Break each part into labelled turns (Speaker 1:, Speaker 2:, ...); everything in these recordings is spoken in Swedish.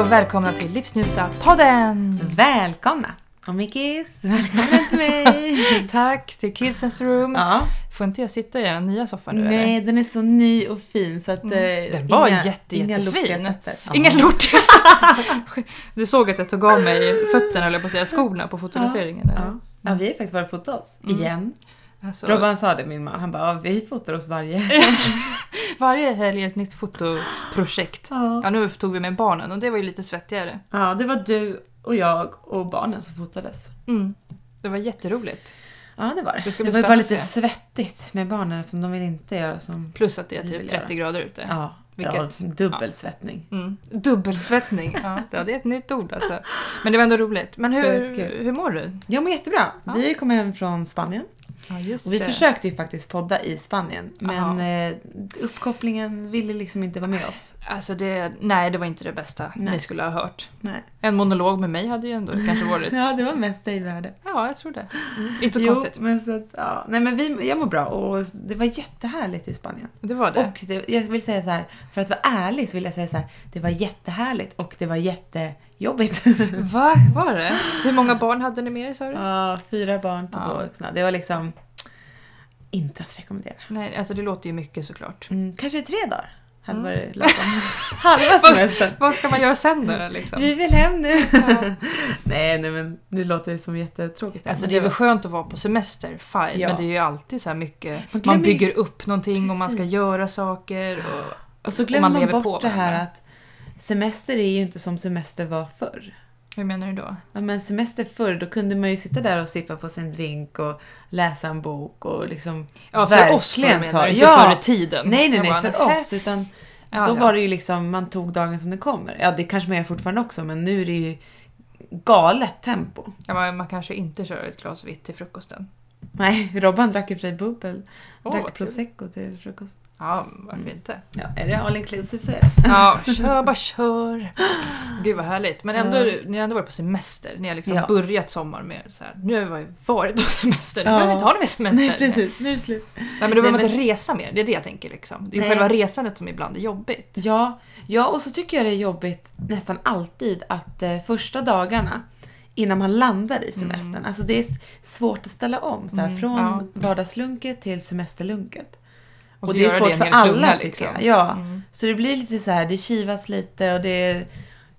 Speaker 1: och välkomna till Livsnjuta-podden!
Speaker 2: Välkomna! Och Mickis, välkommen till mig!
Speaker 1: Tack till Kidsens Room.
Speaker 2: ja.
Speaker 1: Får inte jag sitta i den nya soffan nu
Speaker 2: Nej,
Speaker 1: eller?
Speaker 2: den är så ny och fin så att... Mm.
Speaker 1: Den var jätte, jättefin. Inga lort! du såg att jag tog av mig fötterna, eller på att säga, skorna på fotograferingen.
Speaker 2: Ja. Mm.
Speaker 1: Eller?
Speaker 2: ja, vi har faktiskt varit och fotat oss. Igen.
Speaker 1: Alltså,
Speaker 2: Robban sa det, min man. Han bara, ja, vi fotar oss varje...
Speaker 1: varje helg är ett nytt fotoprojekt. Ja, nu tog vi med barnen och det var ju lite svettigare.
Speaker 2: ja, det var du och jag och barnen som fotades.
Speaker 1: Mm. Det var jätteroligt.
Speaker 2: Ja, det var det.
Speaker 1: Det ska
Speaker 2: det
Speaker 1: bli
Speaker 2: var ju bara lite
Speaker 1: spännande att
Speaker 2: svettigt med barnen eftersom de vill inte göra som...
Speaker 1: Plus att det är
Speaker 2: Vi vill
Speaker 1: typ
Speaker 2: göra.
Speaker 1: 30 grader ute.
Speaker 2: Ja,
Speaker 1: Vilket-
Speaker 2: ja dubbelsvettning.
Speaker 1: Mm. Dubbelsvettning, ja, det är ett nytt ord alltså. Men det var ändå roligt. Men
Speaker 2: Det var
Speaker 1: hur,
Speaker 2: jättekul.
Speaker 1: hur mår du?
Speaker 2: Jag mår jättebra.
Speaker 1: Ja.
Speaker 2: Vi kom hem från Spanien.
Speaker 1: Ja, just
Speaker 2: Och vi försökte ju faktiskt podda i Spanien, men eh, uppkopplingen ville liksom inte vara med oss.
Speaker 1: Alltså det, nej, det var inte det bästa
Speaker 2: Nej.
Speaker 1: ni skulle ha hört.
Speaker 2: Nej.
Speaker 1: En monolog med mig hade ju ändå kanske varit...
Speaker 2: Ja, det var mest dig vi hade.
Speaker 1: Ja, jag tror det. Inte så
Speaker 2: jo,
Speaker 1: konstigt.
Speaker 2: men så att, ja. Nej, men vi, jag mår bra och det var jättehärligt i Spanien.
Speaker 1: Det var det.
Speaker 2: Och det, jag vill säga så här, för att vara ärlig så vill jag säga så här, det var jättehärligt och det var jättejobbigt.
Speaker 1: Va? Var det? Hur många barn hade ni med er sa du?
Speaker 2: ja, fyra barn på
Speaker 1: Ja.
Speaker 2: två vuxna. Det var liksom inte att rekommendera.
Speaker 1: Nej, alltså det låter ju mycket såklart.
Speaker 2: Mm, kanske tre dagar hade
Speaker 1: Mm.
Speaker 2: varit lagom. Halva semestern.
Speaker 1: Vad ska man göra sen då liksom?
Speaker 2: Vi vill hem nu.
Speaker 1: Ja.
Speaker 2: nej, nej men nu låter det som jättetråkigt.
Speaker 1: Alltså
Speaker 2: Men
Speaker 1: det är väl
Speaker 2: var-
Speaker 1: skönt att vara på semester, fine,
Speaker 2: Ja.
Speaker 1: men det är ju alltid så här mycket,
Speaker 2: Man
Speaker 1: man,
Speaker 2: glömmer ju-
Speaker 1: bygger upp någonting och man ska
Speaker 2: Precis.
Speaker 1: göra saker och...
Speaker 2: Och så
Speaker 1: och
Speaker 2: glömmer
Speaker 1: man
Speaker 2: man,
Speaker 1: lever på
Speaker 2: bort det här
Speaker 1: varandra.
Speaker 2: att semester är ju inte som semester var förr.
Speaker 1: Hur menar du då?
Speaker 2: Ja, Men semester förr, då kunde man ju sitta där och sippa på sin drink och läsa en bok och liksom
Speaker 1: Ja, för oss förr menar du, inte
Speaker 2: ja.
Speaker 1: förr i tiden.
Speaker 2: Nej, nej,
Speaker 1: Jag
Speaker 2: nej,
Speaker 1: bara,
Speaker 2: för
Speaker 1: "Nähä."
Speaker 2: oss. Utan
Speaker 1: Ja, ja.
Speaker 2: då var det ju liksom, man tog dagen som den kommer. Ja, det kanske man gör fortfarande också, men nu är det ju galet tempo.
Speaker 1: Ja, man, man kanske inte kör ett glas vitt till frukosten.
Speaker 2: Nej, Robban drack i och för sig bubbel.
Speaker 1: Åh, vad
Speaker 2: drack
Speaker 1: kul.
Speaker 2: prosecco till frukost.
Speaker 1: Ja, varför inte?
Speaker 2: Ja, är det all inclusive så är det.
Speaker 1: Mm. Ja, kör bara kör. Gud vad härligt. Men ändå,
Speaker 2: Ja.
Speaker 1: ni har ändå varit på semester. Ni har liksom
Speaker 2: Ja.
Speaker 1: börjat sommar med så här. Nu har vi varit på semester. Nu
Speaker 2: Ja.
Speaker 1: behöver vi inte ha någon mer semester.
Speaker 2: Nej, precis. Nu är det slut.
Speaker 1: Nej, men då behöver man
Speaker 2: Nej,
Speaker 1: inte resa mer. Det är det jag tänker liksom. Det är ju
Speaker 2: Nej.
Speaker 1: själva resandet som ibland är jobbigt.
Speaker 2: Ja, ja, och så tycker jag det är jobbigt nästan alltid att eh, första dagarna innan man landar i semestern, alltså det är s- svårt att ställa om så här,
Speaker 1: Mm,
Speaker 2: från
Speaker 1: ja.
Speaker 2: vardagslunket till semesterlunket. Och,
Speaker 1: så
Speaker 2: det är
Speaker 1: göra
Speaker 2: svårt
Speaker 1: i en
Speaker 2: för
Speaker 1: hel
Speaker 2: alla
Speaker 1: klunga,
Speaker 2: tycker
Speaker 1: liksom.
Speaker 2: jag. Ja.
Speaker 1: Mm.
Speaker 2: Så det blir lite så här, det kivas lite och det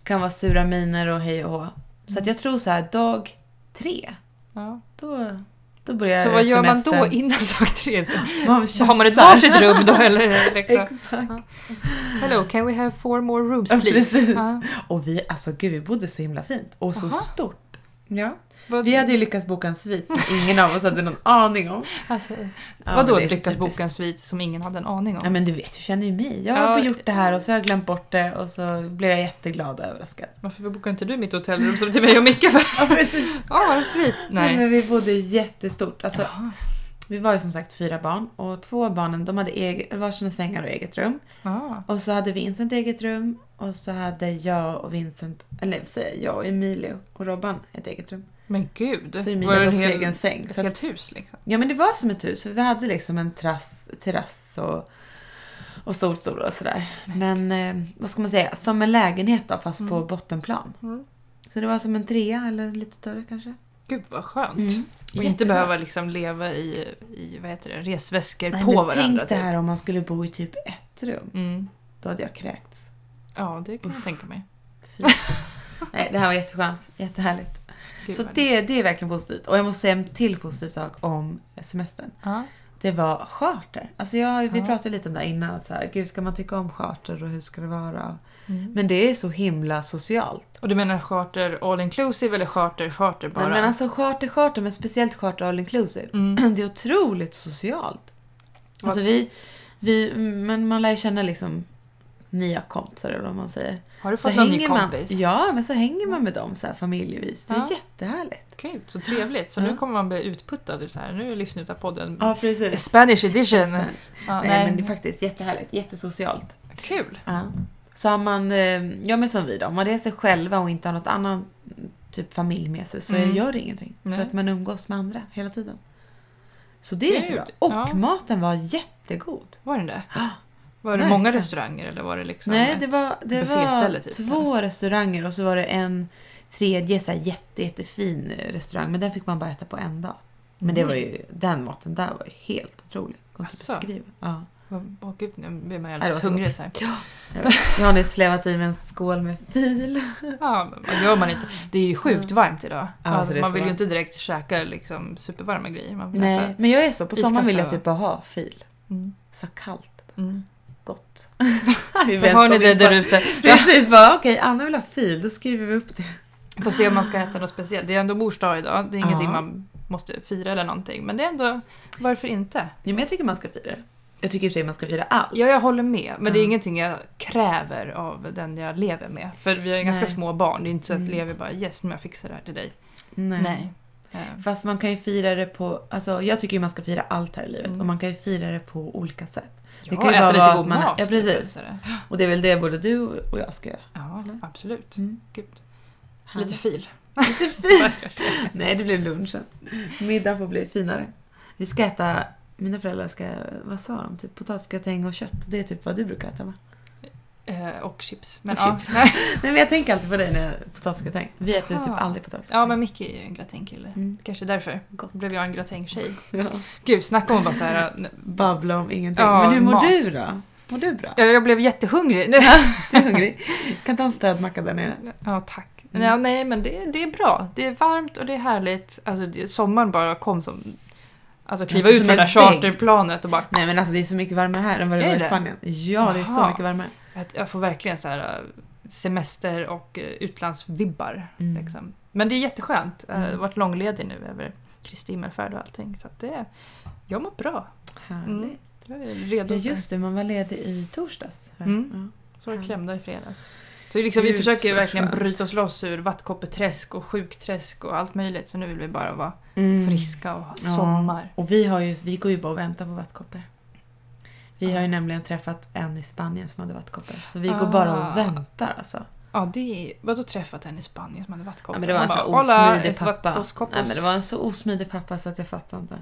Speaker 2: kan vara sura miner och hej och hå. Så att jag tror så här, dag tre,
Speaker 1: Ja.
Speaker 2: då, då börjar
Speaker 1: Så vad gör man då
Speaker 2: Eh, semestern.
Speaker 1: innan dag tre?
Speaker 2: Man
Speaker 1: Har man ett
Speaker 2: tjafsar.
Speaker 1: varsitt rum då eller? Liksom?
Speaker 2: Exakt.
Speaker 1: Hello, can we have four more rooms
Speaker 2: Ja,
Speaker 1: please?
Speaker 2: precis.
Speaker 1: Ja.
Speaker 2: Och vi, alltså gud vi bodde så himla fint och så
Speaker 1: Jaha.
Speaker 2: stort. Ja.
Speaker 1: Vad,
Speaker 2: Vi hade ju lyckats boka en svit som ingen av oss hade någon aning om.
Speaker 1: alltså,
Speaker 2: Ja,
Speaker 1: vadå
Speaker 2: men det är så
Speaker 1: lyckas
Speaker 2: typiskt.
Speaker 1: boka en svit som ingen hade en aning om?
Speaker 2: Ja men du vet, du känner ju mig. Jag
Speaker 1: Ja.
Speaker 2: har gjort det här och så har jag glömt bort det och så blev jag jätteglad och överraskad.
Speaker 1: Varför bokar inte du mitt hotellrum som till mig och Micke? för?
Speaker 2: Ja, precis.
Speaker 1: Ja, en svit.
Speaker 2: Nej
Speaker 1: Nej.
Speaker 2: men vi bodde jättestort. Alltså,
Speaker 1: Jaha.
Speaker 2: vi var ju som sagt fyra barn och två av barnen de hade egen, varsina sängar och eget rum.
Speaker 1: Ja.
Speaker 2: Och så hade Vincent eget rum och så hade jag och Vincent, eller säger jag och Emilio och Robban ett eget rum.
Speaker 1: Men gud.
Speaker 2: Så Emilia
Speaker 1: var det
Speaker 2: hade
Speaker 1: en
Speaker 2: också
Speaker 1: hel,
Speaker 2: egen säng.
Speaker 1: ett
Speaker 2: Så att
Speaker 1: helt hus liksom?
Speaker 2: Ja men det var som ett hus, för vi hade liksom en terrass, terrass och, och solstol och sådär. Men eh, vad ska man säga, som en lägenhet då fast på bottenplan.
Speaker 1: Mm.
Speaker 2: Så det var som en trea eller lite större kanske.
Speaker 1: Gud vad skönt. Och inte
Speaker 2: Mm. Jättebra.
Speaker 1: behöva liksom leva i, i vad heter det, resväskor
Speaker 2: Nej,
Speaker 1: på
Speaker 2: men
Speaker 1: varandra.
Speaker 2: tänk det
Speaker 1: typ.
Speaker 2: här om man skulle bo i typ ett rum.
Speaker 1: Mm.
Speaker 2: Då hade jag kräkts.
Speaker 1: Ja, det kan jag tänka mig.
Speaker 2: Fy. Nej, det här var jätteskönt. Jättehärligt.
Speaker 1: Gud,
Speaker 2: Så
Speaker 1: vad-
Speaker 2: det, det är verkligen positivt. Och jag måste säga en till positiv sak om semestern.
Speaker 1: Ja.
Speaker 2: Det var charter. Alltså jag, vi
Speaker 1: Ja.
Speaker 2: pratade lite om det här innan. Att så här, Gud, ska man tycka om charter och hur ska det vara?
Speaker 1: Mm.
Speaker 2: Men det är så himla socialt.
Speaker 1: Och du menar charter all inclusive eller charter charter bara?
Speaker 2: Nej, men alltså charter, charter, men speciellt charter all inclusive.
Speaker 1: Mm.
Speaker 2: Det är otroligt socialt.
Speaker 1: Vad-
Speaker 2: Alltså vi, vi, men man lär ju känna liksom nya kompisar eller vad man säger.
Speaker 1: Har du fått någon ny kompis?
Speaker 2: Man, ja, men så hänger man med dem så här familjevis. Det är
Speaker 1: Ja.
Speaker 2: jättehärligt.
Speaker 1: Gud, så trevligt. Så
Speaker 2: Ja.
Speaker 1: nu kommer man bli utputtad ur så här. Nu är Livsnjutarpodden
Speaker 2: Ja, precis.
Speaker 1: Spanish edition. Ja,
Speaker 2: Nej, men det är faktiskt jättehärligt. Jättesocialt.
Speaker 1: Kul.
Speaker 2: Ja. Så har man, eh, ja men som vi då, om man reser själva och inte har något annan typ familj med sig så
Speaker 1: Mm.
Speaker 2: gör det ingenting.
Speaker 1: Nej.
Speaker 2: För att man umgås med andra hela tiden. Så det
Speaker 1: Gud,
Speaker 2: är jättebra. Och
Speaker 1: ja.
Speaker 2: maten var jättegod.
Speaker 1: Var den det? Var det
Speaker 2: Verkligen.
Speaker 1: många restauranger eller var det liksom
Speaker 2: Nej,
Speaker 1: ett
Speaker 2: det var, det
Speaker 1: bufféställe
Speaker 2: var
Speaker 1: typ,
Speaker 2: två restauranger och så var det en tredje så här jätte, jättefin eh, restaurang. Men den fick man bara äta på en dag. Men det var ju, den maten där var ju helt otrolig. Går inte
Speaker 1: Mm. Asså.
Speaker 2: att beskriva. Ja.
Speaker 1: Vad- Åh gud, nu blir man ju
Speaker 2: Nej, det var
Speaker 1: alldeles
Speaker 2: så
Speaker 1: hungrig. Så här.
Speaker 2: Jag har nyss slävat i mig en skål med fil.
Speaker 1: Ja, men vad gör man inte? Det är ju sjukt varmt idag.
Speaker 2: Ja,
Speaker 1: alltså,
Speaker 2: alltså, det är
Speaker 1: man
Speaker 2: så
Speaker 1: vill ju
Speaker 2: varmt.
Speaker 1: inte direkt käka liksom, supervarma grejer. Man vill
Speaker 2: Nej,
Speaker 1: äta.
Speaker 2: men jag är så. På sommaren vill jag
Speaker 1: Iskaffe,
Speaker 2: typ bara ha fil.
Speaker 1: Mm.
Speaker 2: Så kallt,
Speaker 1: Mm.
Speaker 2: gott.
Speaker 1: Då hör ni det där ute.
Speaker 2: Precis, bara okej, Anna vill ha fil, då skriver vi upp det.
Speaker 1: Får se om man ska äta något speciellt. Det är ändå mors dag idag. Det är
Speaker 2: Ja.
Speaker 1: ingenting man måste fira eller någonting. Men det är ändå, varför inte?
Speaker 2: Ja, men jag tycker man ska fira det. Jag tycker i och för sig man ska fira allt.
Speaker 1: Ja, jag håller med. Men det är
Speaker 2: Mm.
Speaker 1: ingenting jag kräver av den jag lever med. För vi har ju ganska
Speaker 2: Nej.
Speaker 1: små barn. Det är inte så att
Speaker 2: Mm.
Speaker 1: Levi bara yes, nu jag fixar det här till dig.
Speaker 2: Nej.
Speaker 1: Nej. Eh,
Speaker 2: Fast man kan ju fira det på, alltså jag tycker ju man ska fira allt här i livet
Speaker 1: Mm.
Speaker 2: och man kan ju fira det på olika sätt.
Speaker 1: Ja,
Speaker 2: kan ju bara
Speaker 1: äta
Speaker 2: vara
Speaker 1: lite
Speaker 2: att
Speaker 1: god
Speaker 2: man-
Speaker 1: mat.
Speaker 2: ja,
Speaker 1: typ,
Speaker 2: precis.
Speaker 1: eller så.
Speaker 2: Och det är väl det både du och jag ska göra.
Speaker 1: Ja,
Speaker 2: Eller?
Speaker 1: absolut. Gud. Mm. Lite
Speaker 2: Härligt.
Speaker 1: fil.
Speaker 2: Lite fint. Nej, det blir lunchen. Middagen får bli finare. Vi ska äta, mina föräldrar ska, vad sa de? Typ potatisgratäng och kött. Det är typ vad du brukar äta va?
Speaker 1: Eh, och chips. Men,
Speaker 2: Och
Speaker 1: ja.
Speaker 2: chips. Nej men jag tänker alltid på dig när jag potatisgratäng. Vi äter typ
Speaker 1: Aha.
Speaker 2: aldrig potatisgratäng.
Speaker 1: ja, men Micke är ju en gratängkille.
Speaker 2: Mm.
Speaker 1: Kanske därför
Speaker 2: Gott.
Speaker 1: blev jag en gratängtjej.
Speaker 2: Ja.
Speaker 1: Gud, snacka om bara så här.
Speaker 2: Babbla om ingenting.
Speaker 1: Ja,
Speaker 2: men hur mår
Speaker 1: mat.
Speaker 2: du då? Mår du bra?
Speaker 1: eh, Jag, jag blev jättehungrig.
Speaker 2: Du är hungrig? Kan ta en stödmacka där nere.
Speaker 1: Ja, tack.
Speaker 2: Mm.
Speaker 1: Ja, nej, men det, det är bra. Det är varmt och det är härligt. Alltså, det, sommaren bara kom som... Alltså kliva
Speaker 2: Alltså,
Speaker 1: ut
Speaker 2: som
Speaker 1: från det där
Speaker 2: en vägg.
Speaker 1: charterplanet och bara...
Speaker 2: Nej men alltså det är så mycket varmare här än vad det
Speaker 1: Är
Speaker 2: var i
Speaker 1: det?
Speaker 2: Spanien. Ja, det är så
Speaker 1: Jaha.
Speaker 2: mycket varmare.
Speaker 1: Att jag får verkligen så här eh, semester och eh, utlandsvibbar.
Speaker 2: Mm.
Speaker 1: Liksom. Men det är jätteskönt. Jag har
Speaker 2: Mm.
Speaker 1: varit långledig nu över Kristi himmelfärd och allting. Så att det, jag mår bra.
Speaker 2: Härligt.
Speaker 1: Mm. Jag är redo.
Speaker 2: Ja
Speaker 1: för-
Speaker 2: just det, man var ledig i torsdags. va?
Speaker 1: Mm.
Speaker 2: Ja.
Speaker 1: Så var jag klämda i fredags. Så liksom, vi
Speaker 2: Gud,
Speaker 1: försöker
Speaker 2: så
Speaker 1: verkligen
Speaker 2: skönt.
Speaker 1: bryta oss loss ur vattkoppeträsk och sjukträsk och allt möjligt. Så nu vill vi bara vara
Speaker 2: Mm.
Speaker 1: friska och ha
Speaker 2: Ja.
Speaker 1: sommar.
Speaker 2: Och vi, har ju, vi går ju bara och väntar på vattkoppor. Vi har ju nämligen träffat en i Spanien som hade vattkoppor. Så vi går bara
Speaker 1: Ah.
Speaker 2: och väntar alltså.
Speaker 1: Ja, det är Vadå träffat en i Spanien som hade vattkoppor?
Speaker 2: Ja, men det var en
Speaker 1: Man
Speaker 2: så här
Speaker 1: bara, "Hola,
Speaker 2: osmidig
Speaker 1: es
Speaker 2: pappa.
Speaker 1: vatos
Speaker 2: Nej,
Speaker 1: copos."
Speaker 2: men det var en så osmidig pappa så att jag fattar inte.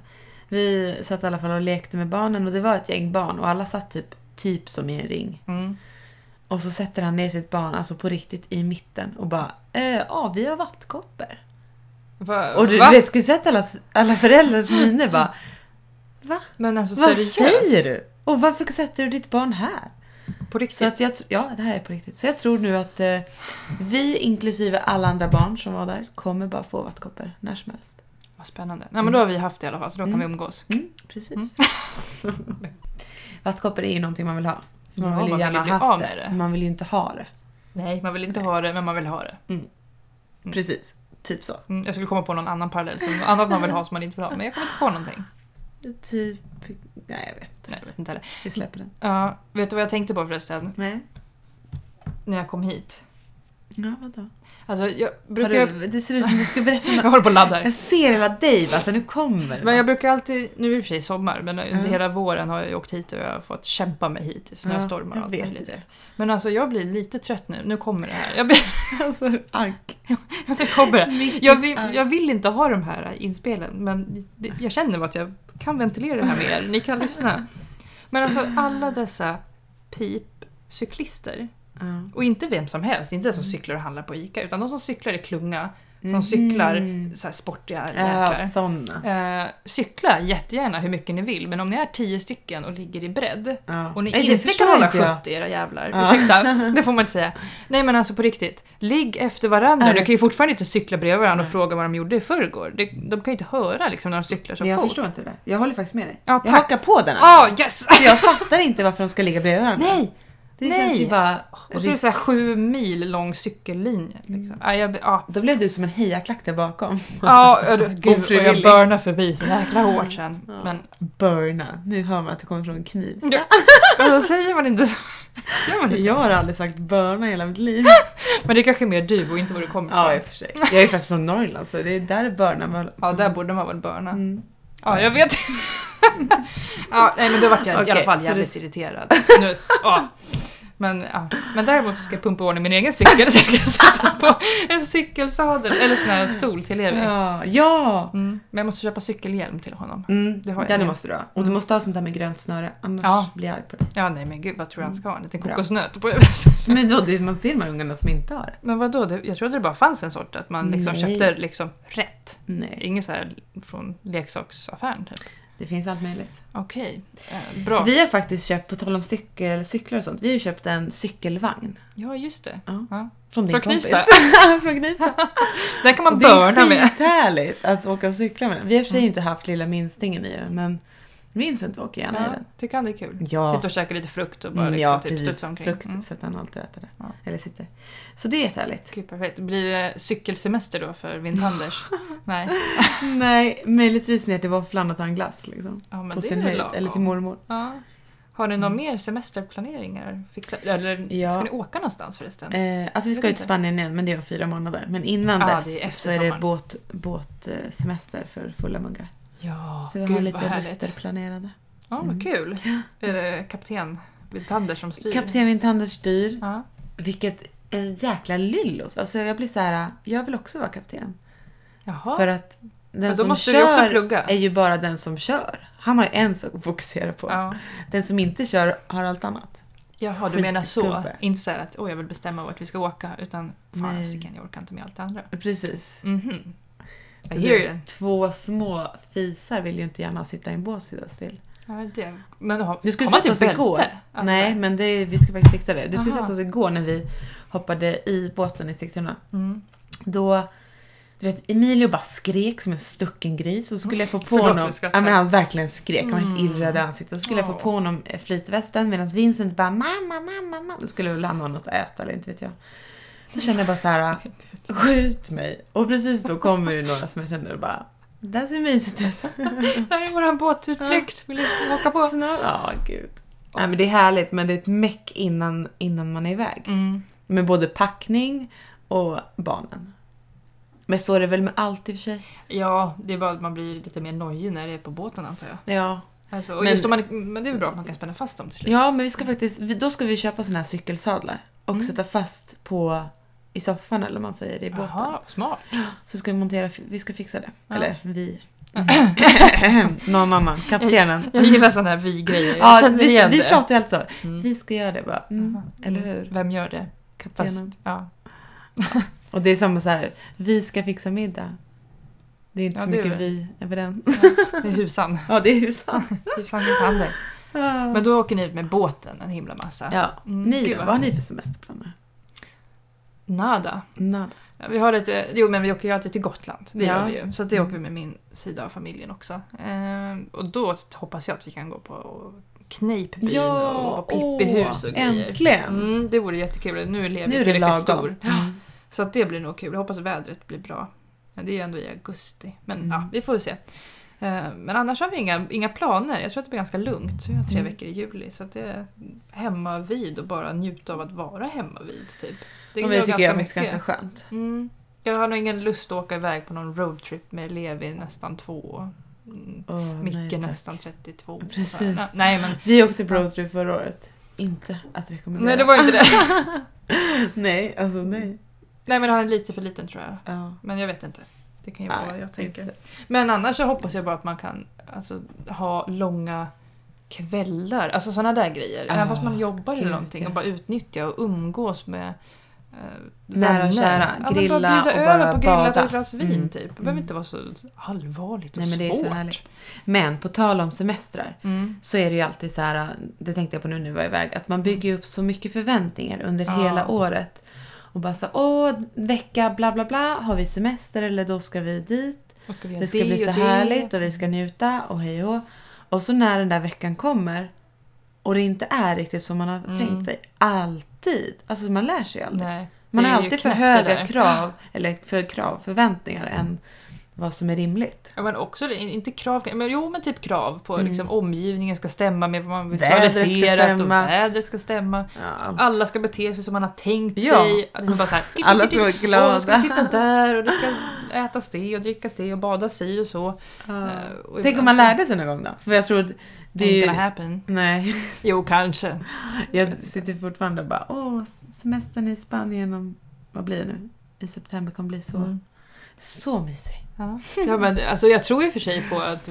Speaker 2: Vi satt i alla fall och lekte med barnen och det var ett gäng barn och alla satt typ, typ som i en ring.
Speaker 1: Mm.
Speaker 2: Och så sätter han ner sitt barn, alltså på riktigt, i mitten och bara eh, ja, vi har vattkoppor.
Speaker 1: Va,
Speaker 2: Och du,
Speaker 1: va?
Speaker 2: du vet, skulle du sett alla, alla föräldrars miner bara Va?
Speaker 1: Men alltså
Speaker 2: Vad
Speaker 1: seriöst?
Speaker 2: säger du? Och varför sätter du ditt barn här?
Speaker 1: På riktigt?
Speaker 2: Så att jag, tr- ja, det här är på riktigt. Så jag tror nu att eh, vi, inklusive alla andra barn som var där, kommer bara få vattkoppor när som helst.
Speaker 1: Vad spännande. Nej, men då har vi haft det i alla fall, så då kan
Speaker 2: Mm.
Speaker 1: vi umgås.
Speaker 2: Mm, precis. vattkoppor är ju någonting man vill ha. Man
Speaker 1: mm. Ja,
Speaker 2: vill ju
Speaker 1: man vill
Speaker 2: gärna
Speaker 1: ju bli
Speaker 2: ha
Speaker 1: av
Speaker 2: haft
Speaker 1: med
Speaker 2: det.
Speaker 1: det.
Speaker 2: Man vill ju inte ha det.
Speaker 1: Nej, man vill inte ha det, men man vill ha det. Mm.
Speaker 2: Precis. Typ så.
Speaker 1: Mm, jag skulle komma på någon annan parallell, som något annat man vill ha som man inte vill ha, men jag kommer inte på någonting.
Speaker 2: Typ... Nej, jag vet.
Speaker 1: Nej, jag vet inte heller.
Speaker 2: Vi släpper den.
Speaker 1: Ja, vet du vad jag tänkte på förresten,
Speaker 2: Nej.
Speaker 1: när jag kom hit?
Speaker 2: Ja, vadå?
Speaker 1: Alltså, jag
Speaker 2: Har
Speaker 1: brukar... Jag,
Speaker 2: du, det ser ut som du skulle berätta
Speaker 1: jag
Speaker 2: något.
Speaker 1: håller på och laddar.
Speaker 2: Jag ser hela dig, alltså nu kommer det.
Speaker 1: Men jag brukar alltid, nu är det i och för sig sommar, men
Speaker 2: Mm.
Speaker 1: under hela våren har jag ju åkt hit och jag har fått kämpa mig hit i snöstormar
Speaker 2: Ja,
Speaker 1: och
Speaker 2: jag
Speaker 1: allt
Speaker 2: vet
Speaker 1: möjligt.
Speaker 2: det.
Speaker 1: Men alltså jag blir lite trött nu, nu kommer det här. Jag blir, alltså,
Speaker 2: Ank.
Speaker 1: det kommer det.
Speaker 2: Mitt
Speaker 1: Jag
Speaker 2: i
Speaker 1: vill,
Speaker 2: allt.
Speaker 1: jag vill inte ha de här inspelen, men det, jag känner att jag kan ventilera det här med er. Ni kan lyssna. Men alltså alla dessa pipcyklister,
Speaker 2: Ja.
Speaker 1: och inte vem som helst, inte den som
Speaker 2: Mm.
Speaker 1: cyklar och handlar på ICA, utan de som cyklar i klunga, som
Speaker 2: Mhm.
Speaker 1: cyklar så här sportiga
Speaker 2: Ja,
Speaker 1: jäklar.
Speaker 2: såna.
Speaker 1: Eh, cykla jättegärna hur mycket ni vill, men om ni är tio stycken och ligger i bredd
Speaker 2: Ja.
Speaker 1: och ni
Speaker 2: Nej, det
Speaker 1: inte
Speaker 2: förstår
Speaker 1: kan hålla
Speaker 2: inte jag.
Speaker 1: 70 era jävlar,
Speaker 2: Ja.
Speaker 1: ursäkta, det får man inte säga. Nej men alltså på riktigt, ligg efter varandra.
Speaker 2: Nej.
Speaker 1: Du kan ju fortfarande inte cykla bredvid varandra och
Speaker 2: Nej.
Speaker 1: fråga vad de gjorde i förrgår. De, de kan ju inte höra liksom när de cyklar
Speaker 2: Men
Speaker 1: som
Speaker 2: jag
Speaker 1: fort.
Speaker 2: förstår inte det där. Jag håller faktiskt med dig.
Speaker 1: Ja,
Speaker 2: jag
Speaker 1: tack.
Speaker 2: hakar på den här.
Speaker 1: Ah yes!
Speaker 2: För Jag fattar inte varför de ska ligga bredvid varandra.
Speaker 1: Nej!
Speaker 2: det
Speaker 1: nej.
Speaker 2: känns ju bara...
Speaker 1: Och så är det så här sju mil lång cykellinje.
Speaker 2: Mm.
Speaker 1: Liksom. Ah, jag, ah.
Speaker 2: Då blev du som en hejaklack där bakom.
Speaker 1: Ah, gud, och jag
Speaker 2: Ofrivillig.
Speaker 1: burnar förbi så jäkla hårt sen.
Speaker 2: Ja.
Speaker 1: Men
Speaker 2: Burna. Nu hör man att det kommer från kniv.
Speaker 1: då alltså, säger man inte så. Gör man inte.
Speaker 2: Jag har aldrig sagt burna i hela mitt liv.
Speaker 1: Men det är kanske är mer du och inte var du kommer ifrån.
Speaker 2: Ja, i och för sig. Jag är faktiskt från Norrland så det är där burna man...
Speaker 1: Ja, där borde man väl börna.
Speaker 2: Mm.
Speaker 1: Ja, jag vet. ja, nej, men då vart jag i alla
Speaker 2: Okej,
Speaker 1: fall
Speaker 2: så
Speaker 1: jävligt
Speaker 2: det-
Speaker 1: irriterad. Nu, s- ja. Men, ja. men däremot ska jag pumpa i ordning min egen cykel så jag kan sätta på en cykelsadel eller sån här stol till Levi.
Speaker 2: Ja, ja!
Speaker 1: Mm. Men jag måste köpa cykelhjälm till honom.
Speaker 2: Mm,
Speaker 1: Det har jag
Speaker 2: den
Speaker 1: med. Mm.
Speaker 2: måste du ha. Och du måste ha sånt där med grönt snöre, annars
Speaker 1: Ja.
Speaker 2: blir jag arg på dig.
Speaker 1: Ja, nej men gud vad tror du han ska ha? En liten
Speaker 2: Bra.
Speaker 1: kokosnöt? På...
Speaker 2: Men då, det, man ser de här ungarna som inte har det.
Speaker 1: men vadå, det, jag trodde det bara fanns en sort, att man liksom
Speaker 2: Nej.
Speaker 1: köpte liksom rätt.
Speaker 2: Nej,
Speaker 1: Inget så här från leksaksaffären typ.
Speaker 2: det finns allt möjligt.
Speaker 1: Okej, eh, bra.
Speaker 2: Vi har faktiskt köpt, på tal om cykel, cyklar och sånt, vi har ju köpt en cykelvagn.
Speaker 1: Ja, just det.
Speaker 2: Ja.
Speaker 1: Ja.
Speaker 2: Från din
Speaker 1: Från
Speaker 2: kompis.
Speaker 1: Knivsta.
Speaker 2: Från Knivsta.
Speaker 1: Den kan man
Speaker 2: Och det är
Speaker 1: börna med.
Speaker 2: skithärligt att åka och cykla med den. Vi har i och för sig inte haft lilla minstingen i den, men Vincent åker gärna i
Speaker 1: Ja,
Speaker 2: den.
Speaker 1: tycker han det är kul?
Speaker 2: Ja.
Speaker 1: Sitta och käka lite frukt och bara
Speaker 2: Mm,
Speaker 1: liksom,
Speaker 2: ja,
Speaker 1: typ
Speaker 2: precis.
Speaker 1: studsa omkring.
Speaker 2: Frukt
Speaker 1: Mm.
Speaker 2: så att han alltid äter det.
Speaker 1: Ja.
Speaker 2: Eller sitter. Så det är jättehärligt.
Speaker 1: Gud, perfekt. Blir det cykelsemester då för Vintanders? Nej.
Speaker 2: Nej, möjligtvis ner till våfflan och ta en glass liksom.
Speaker 1: Ja, men
Speaker 2: På
Speaker 1: det
Speaker 2: sin
Speaker 1: är väl
Speaker 2: höjd.
Speaker 1: lagom.
Speaker 2: Eller till mormor.
Speaker 1: Ja. Har ni några mer semesterplaneringar? Fixa, eller
Speaker 2: Ja.
Speaker 1: ska ni åka någonstans förresten?
Speaker 2: Eh, alltså vi
Speaker 1: Jag
Speaker 2: ska
Speaker 1: vet
Speaker 2: ut
Speaker 1: inte.
Speaker 2: till Spanien igen, men det är om fyra månader. Men innan
Speaker 1: Ja,
Speaker 2: dess
Speaker 1: det är efter
Speaker 2: så är det
Speaker 1: sommaren.
Speaker 2: båt, båtsemester för fulla muggar.
Speaker 1: Ja,
Speaker 2: så vi har
Speaker 1: gud
Speaker 2: lite
Speaker 1: vad härligt.
Speaker 2: rutter planerade.
Speaker 1: Ja,
Speaker 2: Mm.
Speaker 1: vad kul. Är det kapten Vintander som styr?
Speaker 2: Kapten Vintander styr.
Speaker 1: Ja.
Speaker 2: Vilket en jäkla lyllos. Alltså jag blir så här, jag vill också vara kapten.
Speaker 1: Jaha.
Speaker 2: För att den
Speaker 1: Men då
Speaker 2: som
Speaker 1: måste
Speaker 2: kör
Speaker 1: du också plugga.
Speaker 2: är ju bara den som kör. Han har ju en sak att fokusera på.
Speaker 1: Ja.
Speaker 2: Den som inte kör har allt annat.
Speaker 1: Jaha, du menar så.
Speaker 2: Skitgubbe.
Speaker 1: Inte så här att åh, jag vill bestämma vart vi ska åka, utan
Speaker 2: Nej.
Speaker 1: fasiken, jag orkar inte med allt det andra.
Speaker 2: Precis.
Speaker 1: Mhm. Jag
Speaker 2: Du
Speaker 1: hear
Speaker 2: vet,
Speaker 1: you.
Speaker 2: Två små fisar vill ju inte gärna sitta i en bås och sitta still.
Speaker 1: Ja, men det. Men har,
Speaker 2: Du skulle
Speaker 1: har man
Speaker 2: sett
Speaker 1: typ
Speaker 2: oss igår.
Speaker 1: bälte? Alltså,
Speaker 2: Nej, men det, vi ska faktiskt fixa det. Du skulle
Speaker 1: Aha.
Speaker 2: sett oss igår när vi hoppade i båten i Sigtuna.
Speaker 1: Mm.
Speaker 2: Då, du vet, Emilio bara skrek som en stucken gris och så skulle jag få på
Speaker 1: Förlåt,
Speaker 2: honom...
Speaker 1: jag
Speaker 2: Ja,
Speaker 1: skrattar. Mm.
Speaker 2: men han verkligen skrek, han var helt irrad i ansiktet. Så skulle jag
Speaker 1: Åh.
Speaker 2: få på honom eh, flytvästen medan Vincent bara mamma, mamma, mamma. Då skulle jag väl han ha något att äta eller inte vet jag. Då kände jag bara så här, skjut mig. Och precis då kommer det några som jag känner bara, där ser mysigt ut.
Speaker 1: Det här är våran båtutflykt. Vill du åka på?
Speaker 2: Snö- Ja, gud. Nej men det är härligt men det är ett meck innan, innan man är iväg.
Speaker 1: Mm.
Speaker 2: Med både packning och barnen. Men så är det väl med allt i och för sig.
Speaker 1: Ja, det är bara att man blir lite mer nojig när det är på båten antar jag.
Speaker 2: Ja,
Speaker 1: Alltså, och
Speaker 2: Men-
Speaker 1: just om man, men det är väl bra att man kan spänna fast dem till slut.
Speaker 2: ja men vi ska faktiskt, vi- då ska vi köpa såna här cykelsadlar och
Speaker 1: Mm.
Speaker 2: sätta fast på i soffan eller vad man säger i båten.
Speaker 1: Jaha, smart.
Speaker 2: Så ska vi montera, vi ska fixa det.
Speaker 1: Ja.
Speaker 2: Eller vi. Någon annan, kaptenen.
Speaker 1: Jag gillar sådana här vi-grejer. Jag
Speaker 2: Ja,
Speaker 1: känner
Speaker 2: vi,
Speaker 1: igen
Speaker 2: vi
Speaker 1: det.
Speaker 2: pratar ju alltså.
Speaker 1: Mm.
Speaker 2: Vi ska göra det bara. Mm,
Speaker 1: Jaha.
Speaker 2: eller hur?
Speaker 1: Vem gör det? Fast,
Speaker 2: Kaptenen.
Speaker 1: ja.
Speaker 2: Och det är samma så här, vi ska fixa middag. Det är inte
Speaker 1: Ja,
Speaker 2: så
Speaker 1: det är
Speaker 2: mycket
Speaker 1: det.
Speaker 2: vi över den.
Speaker 1: Det är husan.
Speaker 2: Ja, det är ju sant.
Speaker 1: Husan Vitander. Men då åker ni ut med båten en himla massa.
Speaker 2: Ja.
Speaker 1: Mm,
Speaker 2: Ni
Speaker 1: gud
Speaker 2: då,
Speaker 1: vad
Speaker 2: vad har ni för semesterplaner?
Speaker 1: Nada.
Speaker 2: Nada.
Speaker 1: Ja, Vi har lite, jo men vi åker ju alltid till Gotland, det
Speaker 2: Ja.
Speaker 1: gör vi ju. Så att det
Speaker 2: Mm.
Speaker 1: åker vi med min sida av familjen också. Ehm, och då hoppas jag att vi kan gå på kneippbyn och Pippihus och grejer.
Speaker 2: Äntligen!
Speaker 1: Mm, det vore jättekul. Nu lever
Speaker 2: Nu
Speaker 1: vi
Speaker 2: är det
Speaker 1: tillräckligt
Speaker 2: lagom.
Speaker 1: stor.
Speaker 2: Mm.
Speaker 1: Så att det blir nog kul. Jag hoppas att vädret blir bra. Men det är ändå i augusti. Men
Speaker 2: Mm.
Speaker 1: ja, vi får se. Eh, Men annars har vi inga, inga planer. Jag tror att det blir ganska lugnt. Jag har tre
Speaker 2: Mm.
Speaker 1: veckor i juli. Så att det är hemma vid och bara njuta av att vara hemma vid. Typ.
Speaker 2: Det,
Speaker 1: gör
Speaker 2: men det tycker jag
Speaker 1: mycket.
Speaker 2: faktiskt är ganska skönt.
Speaker 1: Mm. Jag har nog ingen lust att åka iväg på någon roadtrip med Levi nästan två. Mm.
Speaker 2: Åh, nej,
Speaker 1: Micke
Speaker 2: tack.
Speaker 1: nästan 32.
Speaker 2: Precis.
Speaker 1: Så, nej, Nej men.
Speaker 2: Vi åkte på roadtrip förra året. Inte att rekommendera.
Speaker 1: Nej det var inte det.
Speaker 2: nej, alltså nej.
Speaker 1: Nej men han är lite för liten tror jag.
Speaker 2: Ja.
Speaker 1: Men jag vet inte. Det kan ju vara
Speaker 2: Nej,
Speaker 1: vad jag tänker.
Speaker 2: exakt.
Speaker 1: Men annars så hoppas jag bara att man kan alltså, ha långa kvällar, alltså sådana där grejer.
Speaker 2: Ah,
Speaker 1: Även fast man jobbar eller
Speaker 2: gud,
Speaker 1: någonting
Speaker 2: ja.
Speaker 1: och bara utnyttja och umgås med eh,
Speaker 2: Nära och
Speaker 1: vänner.
Speaker 2: kära,
Speaker 1: ja, men
Speaker 2: grilla
Speaker 1: bara
Speaker 2: och
Speaker 1: bjuda över
Speaker 2: bara
Speaker 1: på grilla och ta
Speaker 2: bada.
Speaker 1: ett glas vin
Speaker 2: Mm,
Speaker 1: typ. Det behöver inte vara så allvarligt och
Speaker 2: Nej, men det är så
Speaker 1: svårt.
Speaker 2: härligt. Men på tal om semestrar.
Speaker 1: Mm.
Speaker 2: så är det ju alltid så här, det tänkte jag på nu när vi var iväg, att man bygger ju upp så mycket förväntningar under
Speaker 1: Ja.
Speaker 2: hela året. Och bara så åh, vecka bla bla bla, har vi semester eller då ska vi dit.
Speaker 1: Och ska vi göra
Speaker 2: Det ska
Speaker 1: det
Speaker 2: bli så
Speaker 1: och det.
Speaker 2: härligt och vi ska njuta och hej och hå. Och så när den där veckan kommer och det inte är riktigt som man har
Speaker 1: Mm.
Speaker 2: tänkt sig, alltid. Alltså man lär sig ju aldrig.
Speaker 1: Nej,
Speaker 2: man
Speaker 1: det
Speaker 2: har
Speaker 1: är ju
Speaker 2: alltid för
Speaker 1: knäppt det där.
Speaker 2: höga krav, eller för krav, förväntningar än vad som är rimligt.
Speaker 1: Ja, men också, det- inte krav, men jo men typ krav på
Speaker 2: Mm.
Speaker 1: liksom, omgivningen ska stämma med vad man
Speaker 2: Vädret ska
Speaker 1: visualiserat och
Speaker 2: stämma.
Speaker 1: vädret ska stämma.
Speaker 2: Ja.
Speaker 1: Alla ska bete sig som man har tänkt
Speaker 2: Ja.
Speaker 1: sig. Att Liksom bara så här,
Speaker 2: Alla ska vara
Speaker 1: Och
Speaker 2: glada.
Speaker 1: de ska sitta där och det ska ätas det och drickas det och badas si och så. Eh, och
Speaker 2: Tänk om
Speaker 1: ibland
Speaker 2: man
Speaker 1: så-
Speaker 2: lärde sig någon gång då? För jag tror att det
Speaker 1: Ain't
Speaker 2: är
Speaker 1: gonna
Speaker 2: ju...
Speaker 1: happen.
Speaker 2: Nej,
Speaker 1: Jo, kanske.
Speaker 2: jag sitter fortfarande och bara åh, semestern i Spanien om... Vad blir det nu? I september kommer bli så
Speaker 1: Mm.
Speaker 2: Så mysig.
Speaker 1: Ja. Ja, men, alltså, jag tror ju för sig på att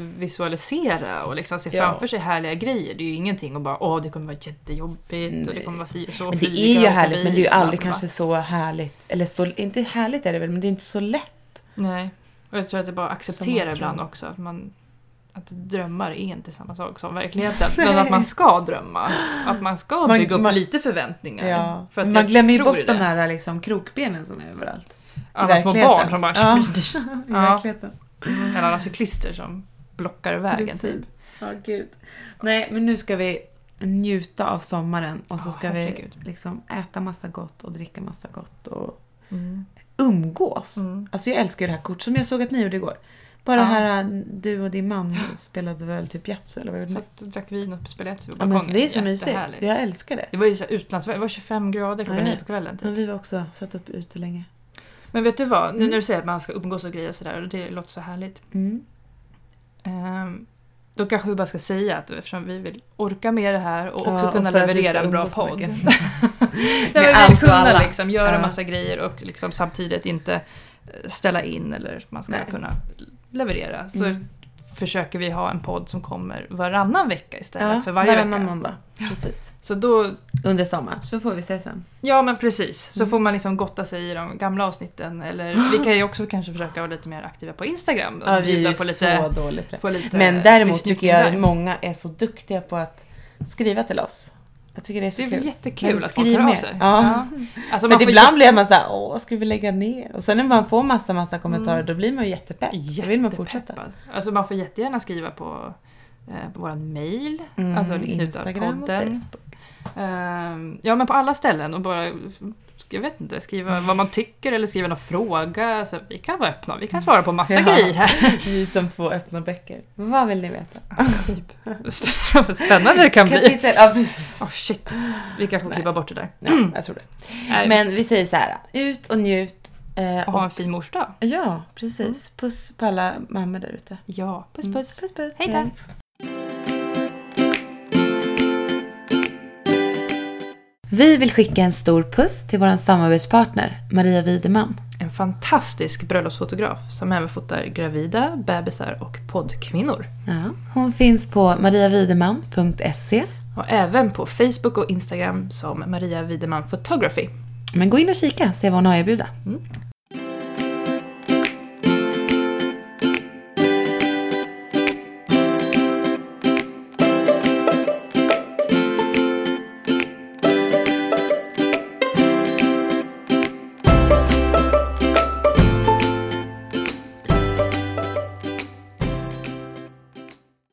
Speaker 1: visualisera och liksom se
Speaker 2: Ja.
Speaker 1: framför sig härliga grejer. Det är ju ingenting att bara åh det kommer vara jättejobbigt och det
Speaker 2: Nej.
Speaker 1: kommer vara si och så.
Speaker 2: Men det
Speaker 1: flyga
Speaker 2: är ju
Speaker 1: och
Speaker 2: härligt, men det är ju
Speaker 1: bilar och
Speaker 2: aldrig
Speaker 1: bla, bla,
Speaker 2: kanske så härligt. Eller så, inte härligt är det väl, men det är inte så lätt.
Speaker 1: bla. Nej. Och jag tror att det bara
Speaker 2: Som man
Speaker 1: accepterar
Speaker 2: tror.
Speaker 1: ibland också att man att drömmar är inte samma sak som verkligheten. Men att man ska drömma. Att man ska
Speaker 2: Man-
Speaker 1: bygga upp
Speaker 2: man-
Speaker 1: lite förväntningar.
Speaker 2: Ja.
Speaker 1: För att
Speaker 2: man
Speaker 1: jag
Speaker 2: glömmer ju
Speaker 1: tror
Speaker 2: bort
Speaker 1: i
Speaker 2: de
Speaker 1: det.
Speaker 2: här liksom, krokbenen som är överallt.
Speaker 1: Alla små
Speaker 2: verkligheten.
Speaker 1: barn som bara
Speaker 2: Ja. I
Speaker 1: Ja.
Speaker 2: verkligheten.
Speaker 1: Eller alla cyklister som blockar vägen.
Speaker 2: Precis.
Speaker 1: Typ.
Speaker 2: Ja, gud. Nej, men nu ska vi njuta av sommaren och så
Speaker 1: Ja,
Speaker 2: ska vi
Speaker 1: herregud.
Speaker 2: liksom äta massa gott och dricka massa gott och
Speaker 1: Mm.
Speaker 2: umgås.
Speaker 1: Mm.
Speaker 2: Alltså jag älskar ju det här kortet, som jag såg att ni gjorde igår. Bara
Speaker 1: Ja.
Speaker 2: det här, äh, du och din man spelade väl typ Yatzy eller vad gjorde ni?
Speaker 1: Satt och drack vin och spelade Yatzy på
Speaker 2: Ja,
Speaker 1: balkongen.
Speaker 2: men alltså, det är så mysigt.
Speaker 1: Jättehärligt.
Speaker 2: Jag älskar det.
Speaker 1: Det var ju så här utlandsväder, det var 25 grader klockan
Speaker 2: Jag
Speaker 1: nio
Speaker 2: vet. Mm.
Speaker 1: på kvällen. Typ.
Speaker 2: Men vi var också satt upp ute länge.
Speaker 1: Men vet du vad, nu
Speaker 2: Mm.
Speaker 1: när du säger att man ska umgås och grejer sådär och det låter så härligt.
Speaker 2: Mm.
Speaker 1: Ehm, då kanske vi bara ska säga att eftersom vi vill orka med det här och också
Speaker 2: Ja, och
Speaker 1: kunna
Speaker 2: för att vi
Speaker 1: leverera
Speaker 2: ska
Speaker 1: en bra
Speaker 2: umgås så
Speaker 1: podd.
Speaker 2: mycket.
Speaker 1: Nej,
Speaker 2: Med
Speaker 1: men vi vill
Speaker 2: allt och
Speaker 1: kunna
Speaker 2: alla.
Speaker 1: liksom göra
Speaker 2: Ja.
Speaker 1: massa grejer och liksom samtidigt inte eh, ställa in eller man ska
Speaker 2: Nej.
Speaker 1: kunna leverera. Så
Speaker 2: Mm.
Speaker 1: försöker vi ha en podd som kommer varannan vecka istället
Speaker 2: Ja,
Speaker 1: för varje
Speaker 2: varannan
Speaker 1: vecka.
Speaker 2: måndag. Precis.
Speaker 1: Så då
Speaker 2: Under sommaren, så får vi se sen.
Speaker 1: Ja men precis, så
Speaker 2: Mm.
Speaker 1: får man liksom gotta sig i de gamla avsnitten. Eller vi kan ju också kanske försöka vara lite mer aktiva på Instagram.
Speaker 2: Ja,
Speaker 1: och
Speaker 2: vi är
Speaker 1: bjuda
Speaker 2: ju
Speaker 1: på
Speaker 2: så
Speaker 1: lite,
Speaker 2: dåligt på det.
Speaker 1: på lite
Speaker 2: Men däremot
Speaker 1: lyssning
Speaker 2: tycker jag att
Speaker 1: där.
Speaker 2: många är så duktiga på att skriva till oss. Jag tycker det är så
Speaker 1: Det är väl
Speaker 2: kul.
Speaker 1: jättekul
Speaker 2: Men
Speaker 1: att folk
Speaker 2: skriv
Speaker 1: hör av
Speaker 2: mer.
Speaker 1: sig.
Speaker 2: Ja.
Speaker 1: Alltså, man
Speaker 2: För
Speaker 1: får
Speaker 2: ibland blir man såhär, åh, ska vi lägga ner? Och sen när man får massa, massa kommentarer, då blir man ju jättepepp. Då
Speaker 1: jätte-
Speaker 2: vill man fortsätta.
Speaker 1: jättepeppad. Mm. Alltså man får jättegärna skriva på, eh, på våran mail.
Speaker 2: Mm,
Speaker 1: alltså Livsnjutarpodden.
Speaker 2: Instagram och Facebook.
Speaker 1: Ehm, ja men på alla ställen och bara jag vet inte, skriva vad man tycker eller skriva någon fråga. Så vi kan vara öppna, vi kan svara på massa
Speaker 2: Ja.
Speaker 1: grejer här.
Speaker 2: Vi som två öppna böcker. Vad vill ni veta?
Speaker 1: typ. Vad Spännande det kan bli.
Speaker 2: Kapitel, ja precis.
Speaker 1: Åh shit, vi kanske får
Speaker 2: Nej.
Speaker 1: klippa bort det där.
Speaker 2: Ja, jag tror det.
Speaker 1: Nej,
Speaker 2: Men vi säger så här, ut och njut. eh,
Speaker 1: och ha en
Speaker 2: och-
Speaker 1: fin morsdag.
Speaker 2: Ja, precis. Puss på alla mammor där ute.
Speaker 1: Ja, puss
Speaker 2: Mm.
Speaker 1: puss.
Speaker 2: Puss, puss.
Speaker 1: Hej då.
Speaker 2: Vi vill skicka en stor puss till vår samarbetspartner Maria Wideman.
Speaker 1: En fantastisk bröllopsfotograf som även fotar gravida, bebisar och poddkvinnor.
Speaker 2: Ja, hon finns på mariavideman.se.
Speaker 1: Och även på Facebook och Instagram som Maria Wideman Photography.
Speaker 2: Men gå in och kika, se vad hon har att erbjuda.